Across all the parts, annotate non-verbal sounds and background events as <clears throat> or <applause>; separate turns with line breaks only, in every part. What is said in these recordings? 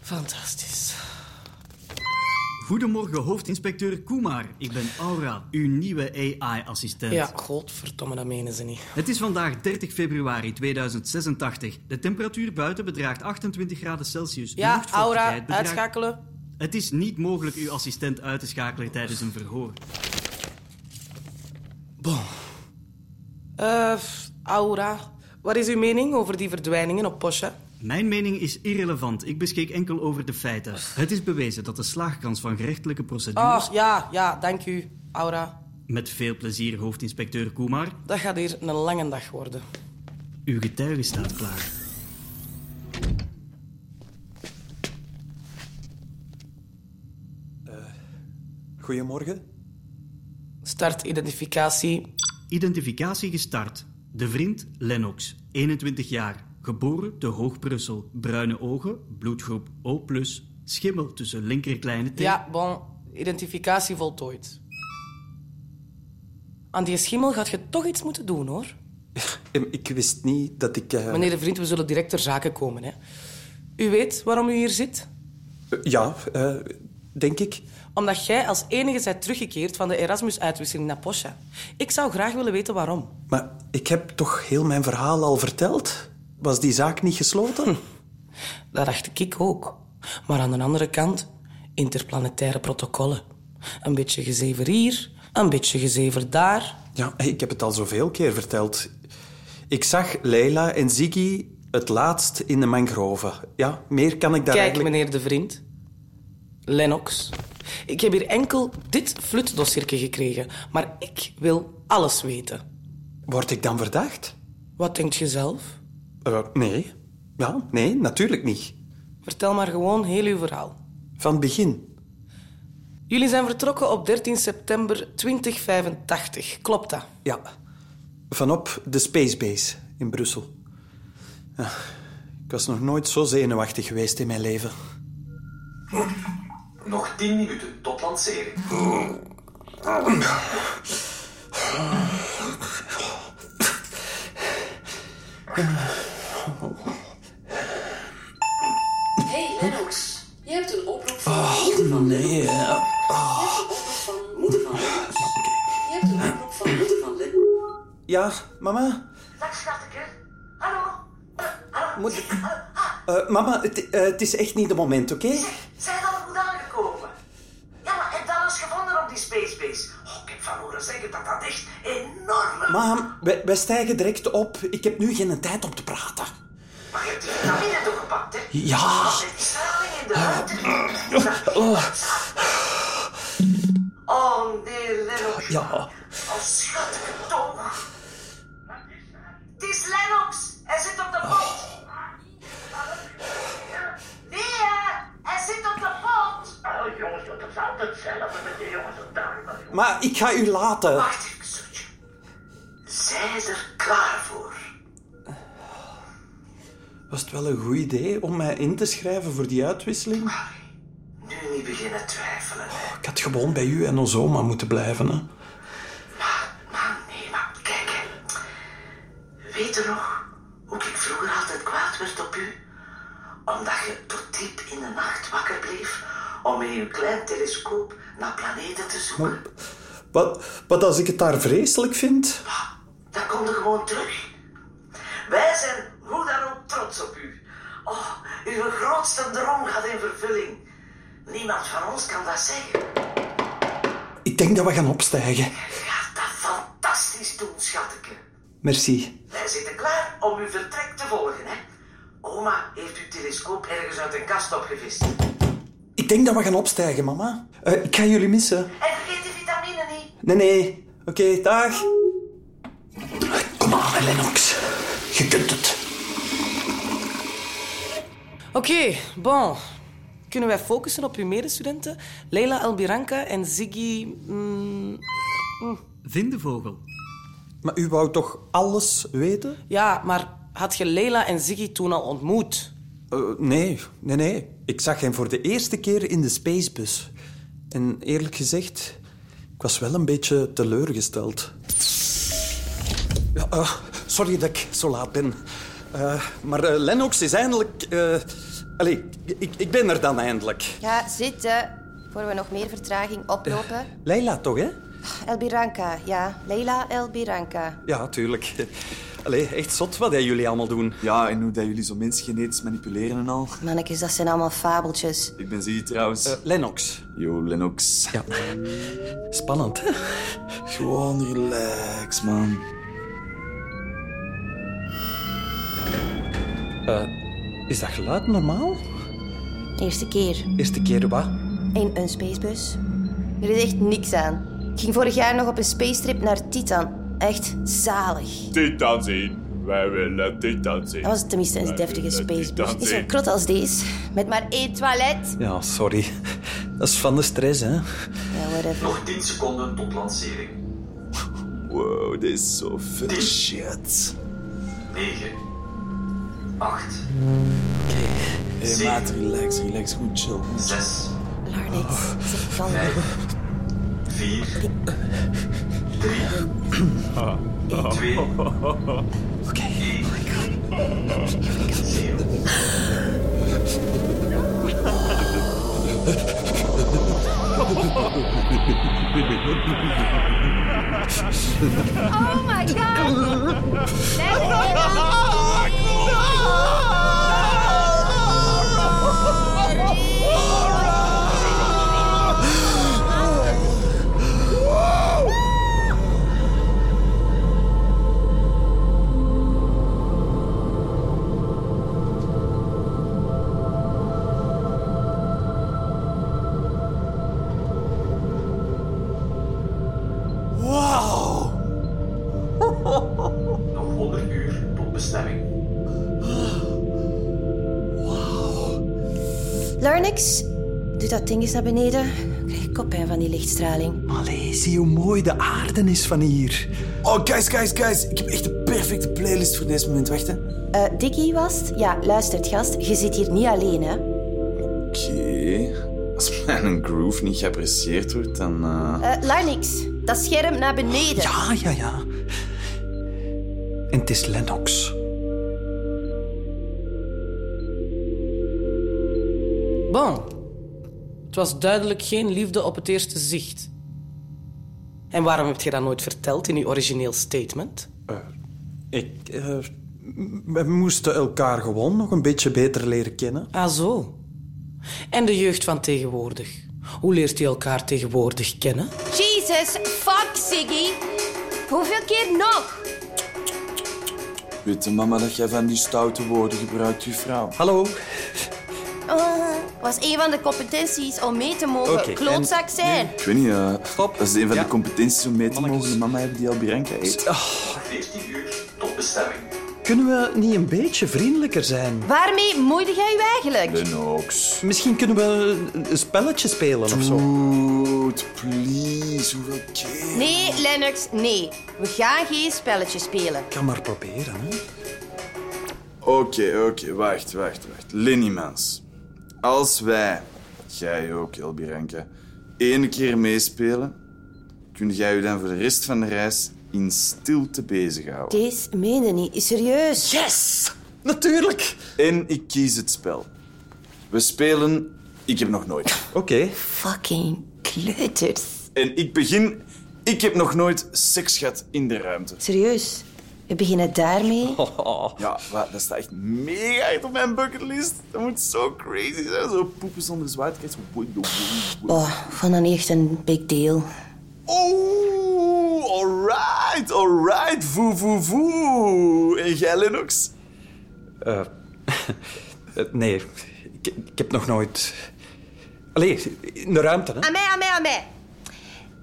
Fantastisch.
Goedemorgen, hoofdinspecteur Koemar. Ik ben Aura, uw nieuwe AI-assistent.
Ja, godverdomme, dat menen ze niet.
Het is vandaag 30 februari 2086. De temperatuur buiten bedraagt 28 graden Celsius. De
Ja,
luchtvochtigheid
Aura,
bedraagt-
uitschakelen.
Het is niet mogelijk uw assistent uit te schakelen tijdens een verhoor.
Bon. Eh, Aura, wat is uw mening over die verdwijningen op Porsche?
Mijn mening is irrelevant. Ik beschik enkel over de feiten. Het is bewezen dat de slaagkans van gerechtelijke procedures...
Oh, ja, ja, dank u, Aura.
Met veel plezier, hoofdinspecteur Koemar.
Dat gaat hier een lange dag worden.
Uw getuige staat klaar.
Goedemorgen.
Start identificatie.
Identificatie gestart. De vriend Lennox, 21 jaar, geboren te Hoog-Brussel. Bruine ogen, bloedgroep O+, schimmel tussen linkerkleine teen.
Ja, bon. Identificatie voltooid. Aan die schimmel gaat je toch iets moeten doen, hoor.
Em, Ik wist niet dat ik... eh,
Meneer de vriend, we zullen direct ter zake komen, hè. U weet waarom u hier zit?
eh, Ja, eh, denk ik.
Omdat jij als enige bent teruggekeerd van de Erasmus-uitwisseling naar Porsche. Ik zou graag willen weten waarom.
Maar ik heb toch heel mijn verhaal al verteld? Was die zaak niet
Hm.
gesloten?
Dat dacht ik ook. Maar aan de andere kant, interplanetaire protocollen. Een beetje gezever hier, een beetje gezever daar.
Ja, eh, ik heb het al zoveel keer verteld. Ik zag Leila en Ziggy het laatst in de mangroven. Ja, meer kan ik daar
Kijk,
eigenlijk...
meneer de vriend. Lennox. Ik heb hier enkel dit flutdossierke gekregen. Maar ik wil alles weten.
Word ik dan verdacht?
Wat denkt je zelf?
Eh, nee. Ja, nee, natuurlijk niet.
Vertel maar gewoon heel uw verhaal.
Van het begin.
Jullie zijn vertrokken op 13 september 2085. Klopt dat?
Ja. Vanop de Spacebase in Brussel. Ja, Ik was nog nooit zo zenuwachtig geweest in mijn leven.
Nog 10 minuten tot lancering.
Hey Lennox, je hebt een oproep van moeder van Lennox. Je hebt een oproep van moeder van Lennox. Je hebt een oproep van moeder van Lennox.
Ja, mama?
Dag, schatje. Hallo. Eh, hallo.
Moet-
Hallo. Ah,
Eh, mama, het eh, het is echt niet de moment, oké?
zijn we al goed aangekomen? Ja, heb je alles gevonden op die Space Base? Oh, ik heb van horen zeggen dat dat echt enorm...
Mam, wij, wij stijgen direct op. Ik heb nu geen tijd om te praten.
Maar je hebt die vitamine toch gepakt, hè?
Ja. Oh.
Er zit die straling in de ruimte. Oh, nee, Lennox.
Ja.
Oh, schatje, toch. Het is Lennox. Hij zit op de pot. Nee, hè. Hij zit op de pot.
Oh, jongens, dat is altijd hetzelfde met die jongens en dames.
Maar ik ga u laten.
Wacht even, zoetje. Zij is er klaar voor.
Was het wel een goed idee om mij in te schrijven voor die uitwisseling?
Nu niet beginnen twijfelen. hè.
Ik had gewoon bij u en onze oma moeten blijven, hè.
Maar nee, maar kijk. hè. Weet je nog hoe ik vroeger altijd kwaad werd op u? Omdat je tot diep in de nacht wakker bleef om met uw klein telescoop naar planeten te zoeken.
Wat, wat als ik het daar vreselijk vind?
Dat komt er gewoon terug. Wij zijn hoe dan ook trots op u. Oh, uw grootste droom gaat in vervulling. Niemand van ons kan dat zeggen.
Ik denk dat we gaan opstijgen.
U gaat dat fantastisch doen, schatteke.
Merci.
Wij zitten klaar om uw vertrek te volgen, hè. Oma heeft uw telescoop ergens uit een kast opgevist.
Ik denk dat we gaan opstijgen, mama. Eh, ik ga jullie missen.
En vergeet de vitamine niet.
Nee, nee. Oké, dag. Kom aan, Lennox. Je kunt het.
Oké, bon. Kunnen wij focussen op uw medestudenten? Leila Albiranka en Ziggy... mm,
Vindevogel.
Maar u wou toch alles weten?
ja, maar had je Leila en Ziggy toen al ontmoet?
Eh, nee, nee, nee. Ik zag hem voor de eerste keer in de spacebus. En eerlijk gezegd, ik was wel een beetje teleurgesteld. Ja, eh, sorry dat ik zo laat ben. Eh, maar eh, Lennox is eindelijk eh, Allee, ik, ik ben er dan eindelijk.
Ga zitten, voor we nog meer vertraging oplopen.
Leila toch, hè?
Elbiranka, ja. Leila Elbiranka.
Ja, tuurlijk. Allee, echt zot wat hè, jullie allemaal doen.
Ja, en hoe dat jullie zo mensgenetisch manipuleren en al.
Mannetjes, dat zijn allemaal fabeltjes.
Ik ben Ziggy trouwens.
Eh, Lennox.
Yo, Lennox.
Ja. Spannend, hè?
Gewoon relax, man.
Is dat geluid normaal?
Eerste keer.
Eerste keer wat?
In een spacebus. Er is echt niks aan. Ik ging vorig jaar nog op een spacetrip naar Titan. Echt zalig.
Titan zien. Wij willen Titan zien.
Dat was tenminste een deftige spacebus. Niet zo'n krot als deze. Met maar één toilet.
Ja, sorry. Dat is van de stress, hè?
Ja,
Oh.
whatever.
Nog 10 seconden tot lancering.
Wow, dit is zo vet shit.
9, 8,
Hey, maat, relax, relax. Goed chill.
6,
Larnix, zeg kalm.
4, 3, 2, 1.
Oh my god!
Wow!
Nog 100 uur tot bestemming.
Larnix, doe dat ding eens naar beneden. Ik krijg koppijn van die lichtstraling.
Allee, zie hoe mooi de aarde is van hier.
Oh, guys, guys, guys. Ik heb echt de perfecte playlist voor deze moment. Wacht, hè.
Eh Dickie was het? Ja, luistert gast, je zit hier niet alleen, hè?
Oké. Als mijn groove niet geapprecieerd wordt, dan... eh,
Eh Larnix, dat scherm naar beneden.
Ja, ja, ja. En het is Lennox.
Bon. Het was duidelijk geen liefde op het eerste zicht. En waarom heb je dat nooit verteld in je origineel statement?
Ik... eh, we moesten elkaar gewoon nog een beetje beter leren kennen.
Ah, zo. En de jeugd van tegenwoordig. Hoe leert die elkaar tegenwoordig kennen?
Jesus, fuck, Siggy. Hoeveel keer nog?
Eh.
Weet de mama dat jij van die stoute woorden gebruikt, je vrouw?
Hallo.
Ah, was een van de competenties om mee te mogen
Oké, en
klootzak zijn.
Ik weet niet, eh,
Stop.
dat is een van
Ja.
de competenties om mee te
Mannetjes.
mogen de mama hebben die al Bianca eet.
14 uur tot bestemming.
Ah, Kunnen we niet een beetje vriendelijker zijn?
Waarmee moeide jij je eigenlijk?
Lennox.
Misschien kunnen we een spelletje spelen of
Mm.
zo.
Dude, please, hoeveel keer?
Nee, Lennox, nee. We gaan geen spelletje spelen.
Ik kan maar proberen, hè.
Oké, oké, wacht, wacht, wacht. Linnimans. Als wij, jij ook, Elbiranka, één keer meespelen, kun jij je dan voor de rest van de reis in stilte bezighouden.
Deze meende niet, serieus.
Yes! Natuurlijk!
En ik kies het spel. We spelen Ik heb nog nooit.
Oké.
Fucking kleuters.
En ik begin Ik heb nog nooit seks gehad in de ruimte.
Serieus, we beginnen daarmee.
Ja, wa- dat staat echt mega hard op mijn bucketlist. Dat moet zo crazy zijn. Zo poepen zonder zwaartekracht. Zo woei, woei, woei, woei.
Oh, ik vond dat niet echt een big deal.
Oeh, alright, alright. Voe, voe, voe. En jij, Lennox?
Eh, eh, nee, ik, ik heb nog nooit... Allee, in de ruimte, hè.
Aan mij, aan mij, aan mij.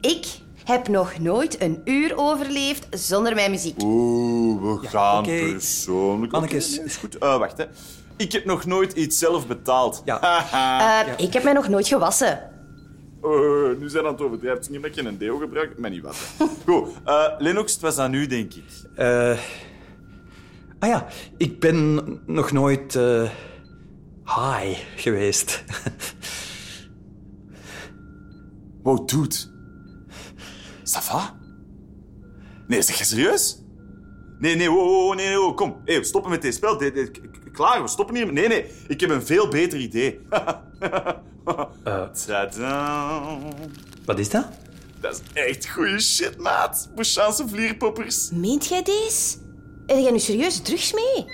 Ik heb nog nooit een uur overleefd zonder mijn muziek.
Oeh, we gaan
oké.
persoonlijk. Oké,
Mannekes.
nee, is goed. Eh, wacht, hè. Ik heb nog nooit iets zelf betaald.
Ja.
Ah.
Eh, Ik heb mij nog nooit gewassen.
Eh, nu zijn we aan het overdrijven. Het is niet omdat je een deo gebruikt, maar niet wat.
<laughs>
hè. Goed, eh, Lennox, het was aan u, denk ik.
Eh, ah ja, ik ben nog nooit eh, high geweest. <laughs>
Wow, dude. Ça va? oh, Nee, zeg je serieus? Nee, nee, wow, wow, wow, nee, nee, wow, kom. Hey, stoppen met dit spel. Dit, dit- ik, ik- ik klaar, we stoppen hier. Nee, nee, ik heb een veel beter idee. <laughs>
Eh,
Tadaa.
wat is dat?
Dat is echt goede shit, maat. Bouchaanse vlierpoppers.
Meent jij deze? Heb jij nu serieus drugs mee?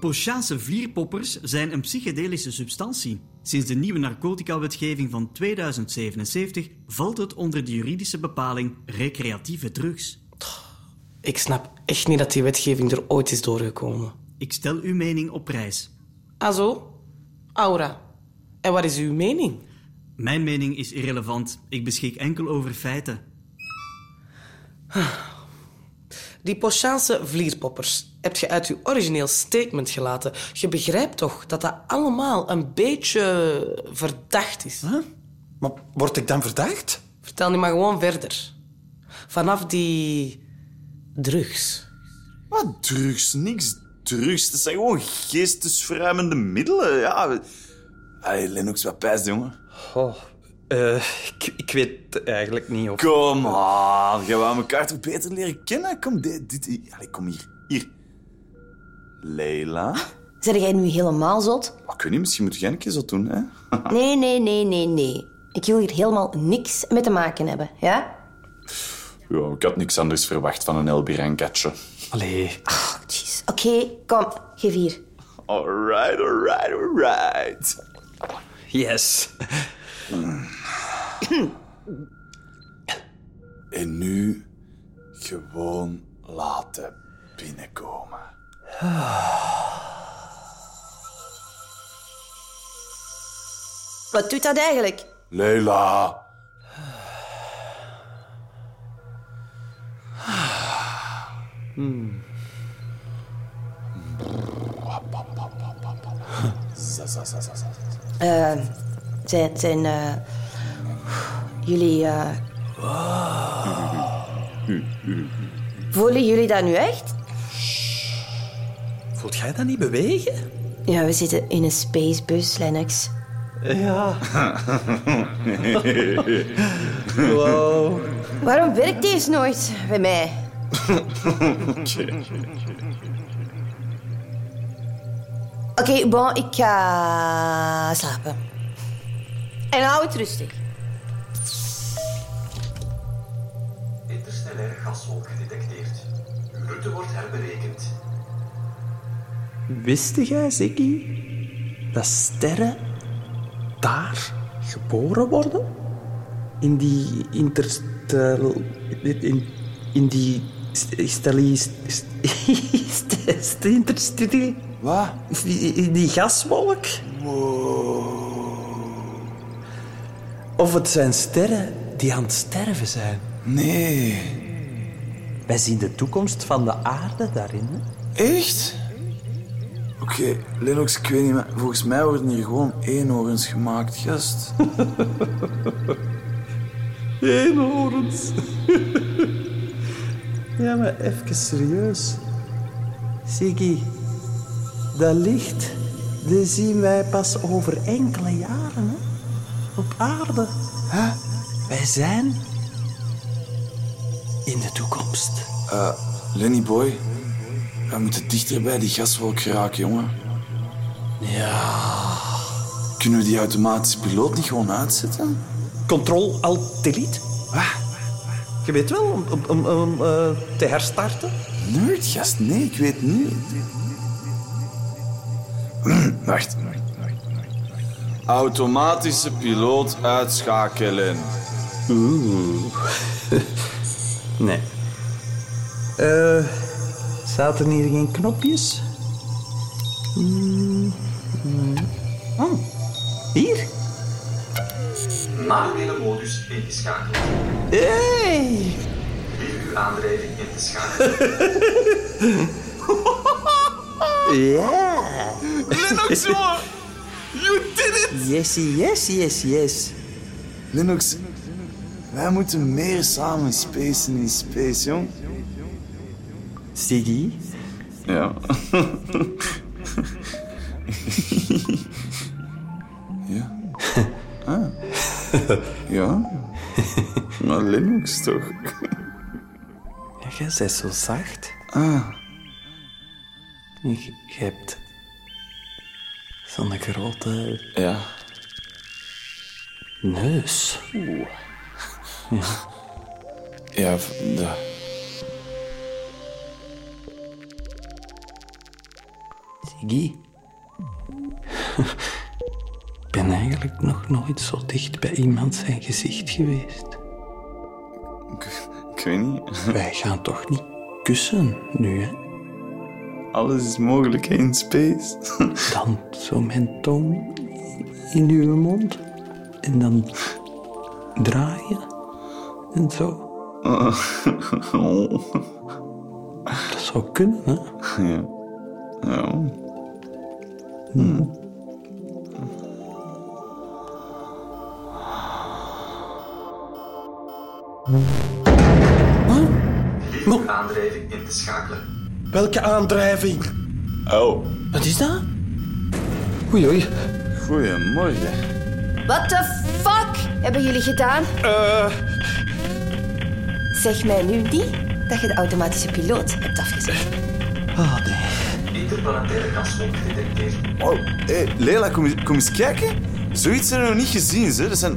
Pochaanse vlierpoppers zijn een psychedelische substantie. Sinds de nieuwe narcotica-wetgeving van 2077 valt het onder de juridische bepaling recreatieve drugs.
Ik snap echt niet dat die wetgeving er ooit is doorgekomen.
Ik stel uw mening op prijs.
Ah zo? Aura, en wat is uw mening?
Mijn mening is irrelevant. Ik beschik enkel over feiten.
Die Pochaanse vlierpoppers heb je uit uw origineel statement gelaten. Je begrijpt toch dat dat allemaal een beetje verdacht is?
Maar word ik dan verdacht?
Vertel nu maar gewoon verder. Vanaf die drugs.
Wat drugs? Niks drugs. Dat zijn gewoon geestesverruimende middelen. Ja. Hey, Lennox, wat pijst, jongen.
Oh, eh, ik, ik weet het eigenlijk niet of...
Kom aan, gaan we aan elkaar toch beter leren kennen? Kom, dit, dit, hier. Allee, kom hier. Hier. Leila?
Zijn jij nu helemaal zot?
Ik weet niet, misschien moet jij een keer zo doen, hè?
Nee, nee, nee, nee, nee. Ik wil hier helemaal niks mee te maken hebben, ja?
Ja, ik had niks anders verwacht van een Elbiran-katje.
Allee.
Jeez. Oké, kom, geef hier.
Alright, alright, alright.
Yes.
En nu gewoon laten binnenkomen.
Wat doet dat eigenlijk?
Leila!
Eh, zijn, zijn, eh, jullie, eh, voelen jullie dat nu echt?
Voelt jij dat niet bewegen?
Ja, we zitten in een spacebus, Lennox.
Ja. wow.
Waarom werkt deze nooit bij mij? Oké, bon, ik ga slapen. En hou het rustig.
Interstellaire gaswolk gedetecteerd. Uw route wordt herberekend.
Wist jij, Ziggy, dat sterren daar geboren worden? In die interstel... In, in die... Stellie... Interstellie...
Wat?
In die gaswolk? Of het zijn sterren die aan het sterven zijn.
Nee.
Wij zien de toekomst van de aarde daarin. hè?
Echt? Oké, Lennox, ik weet niet, maar volgens mij worden hier gewoon eenhoorns gemaakt, gast.
Eenhoorns. ja, maar even serieus. Ziggy, dat licht, die zien wij pas over enkele jaren, hè? Op aarde. Hè? Wij zijn in de toekomst.
Lenny boy, we moeten dichter bij die gaswolk geraken, jongen.
Ja.
Kunnen we die automatische piloot niet gewoon uitzetten?
Control alt delete. Je weet wel, om, om, om, om eh, te herstarten.
Nerd, gast, nee, ik weet niet. <clears throat> Hm, Wacht. Automatische piloot uitschakelen.
Oeh. nee. Eh, zaten hier geen knopjes? Mm, mm. Oh, hier.
Manuele modus ingeschakeld.
Hey!
Leer uw aandrijving in te schakelen.
Ja!
Lennox, jongen! You did it!
Yes, yes, yes, yes.
Linux, wij moeten meer samen spacen in space, jong.
Siggy?
Ja. <laughs> ja. Ah. Ja. Maar Linux toch?
Ja, Ah. jij bent zo zacht.
Ah.
Je, je hebt
Van een grote
Ja.
neus. Ja.
Ja, v- da.
Ziggy. Ik ben eigenlijk nog nooit zo dicht bij iemand zijn gezicht geweest.
Ik weet niet.
Wij gaan toch niet kussen nu, hè?
Alles is mogelijk hè, in space. <laughs>
Dan zo mijn tong in uw mond. En dan draaien. En
<laughs>
zo. Dat zou kunnen, hè?
Ja. Ja.
Lieve aandrijving in te schakelen.
Welke aandrijving?
Oh.
Wat is dat? Oei, oei.
Goedemorgen.
What the fuck hebben jullie gedaan?
Eh.
Zeg mij nu niet dat je de automatische piloot hebt afgezet.
Ah, nee.
Interplanetaire gaswolk gedetecteerd.
Oh, hé, Leila, kom, eens- kom eens kijken. Zoiets hebben we nog niet gezien, hè. Dat zijn,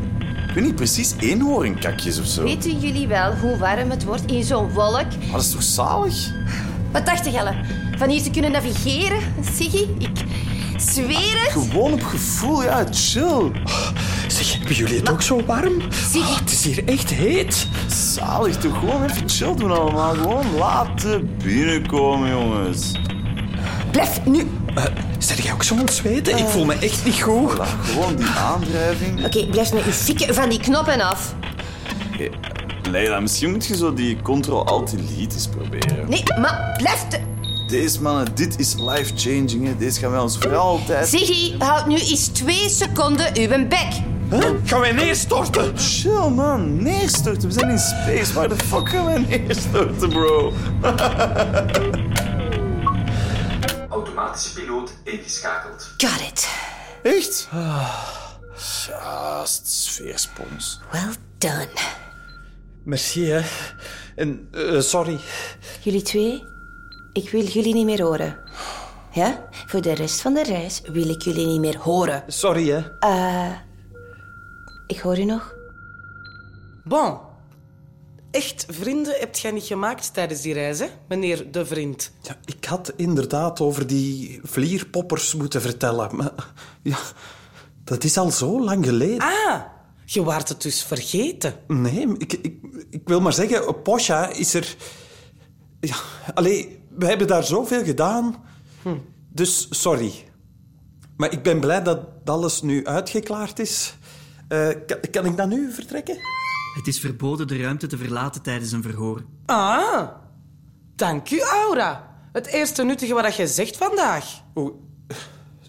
ik weet niet precies, eenhoornkakjes of zo.
Weten jullie wel hoe warm het wordt in zo'n wolk?
Maar dat is toch zalig?
Wat dacht Jelle? Van hier te kunnen navigeren? Siggy, ik zweer het.
Gewoon op gevoel, ja, chill.
Zeg, hebben jullie het ook zo warm?
Siggy,
Het is hier echt heet.
Zalig, toch gewoon even chill doen allemaal. Gewoon laten binnenkomen, jongens.
blijf nu.
Zijn jij ook zo aan het zweten? Ik voel me echt niet goed.
Voilà, gewoon die aandrijving.
Oké, blijf met je fikken van die knoppen af.
Hé, Eh, Leila, misschien moet je zo die Ctrl-Alt-Delete eens proberen.
Nee, maar blijf te...
Deze mannen, dit is life-changing, hè. Deze gaan wij ons voor altijd...
Siggy, houd nu eens twee seconden uw bek.
Gaan wij neerstorten?
Chill man, neerstorten. We zijn in space. Waar de fuck gaan wij neerstorten, bro?
Automatische piloot ingeschakeld.
Got it.
Echt? Gast, sfeerspons.
Well done.
Merci, hè. En eh, sorry.
Jullie twee, ik wil jullie niet meer horen. Ja? Voor de rest van de reis wil ik jullie niet meer horen.
Sorry, hè.
Ik hoor u nog.
Bon. Echt vrienden hebt jij niet gemaakt tijdens die reis, hè, meneer de vriend?
Ja, ik had inderdaad over die vlierpoppers moeten vertellen. Maar ja, dat is al zo lang geleden.
Ah, je waart het dus vergeten.
Nee, ik, ik, ik wil maar zeggen, Posha is er... Ja, allee, we hebben daar zoveel gedaan. Dus sorry. Maar ik ben blij dat alles nu uitgeklaard is. Eh, kan, kan ik dan nu vertrekken?
Het is verboden de ruimte te verlaten tijdens een verhoor.
Ah, dank u, Aura. Het eerste nuttige wat je zegt vandaag.
Oeh,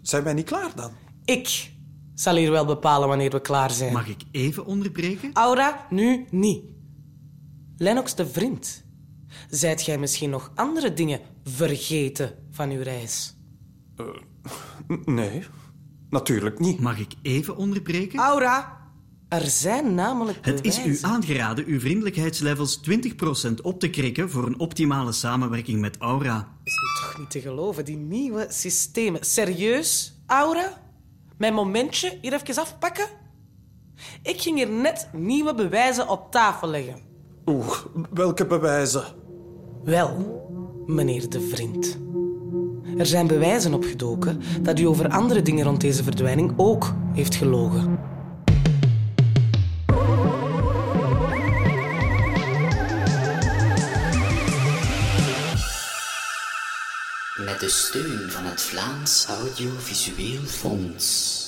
zijn wij niet klaar dan?
Ik zal hier wel bepalen wanneer we klaar zijn.
Mag ik even onderbreken?
Aura, nu niet. Lennox de vriend. Zijt jij misschien nog andere dingen vergeten van uw reis?
N- Nee, natuurlijk niet.
Mag ik even onderbreken?
Ah. Aura, er zijn namelijk
Het is u
bewijzen.
aangeraden uw vriendelijkheidslevels 20% op te krikken voor een optimale samenwerking met Aura.
is nu toch niet te geloven, die nieuwe systemen. Serieus, Aura? Mijn momentje hier even afpakken? Ik ging hier net nieuwe bewijzen op tafel leggen.
Oeh, welke bewijzen?
Wel, meneer de vriend. Er zijn bewijzen opgedoken dat u over andere dingen rond deze verdwijning ook heeft gelogen.
Met de steun van het Vlaams Audiovisueel Fonds.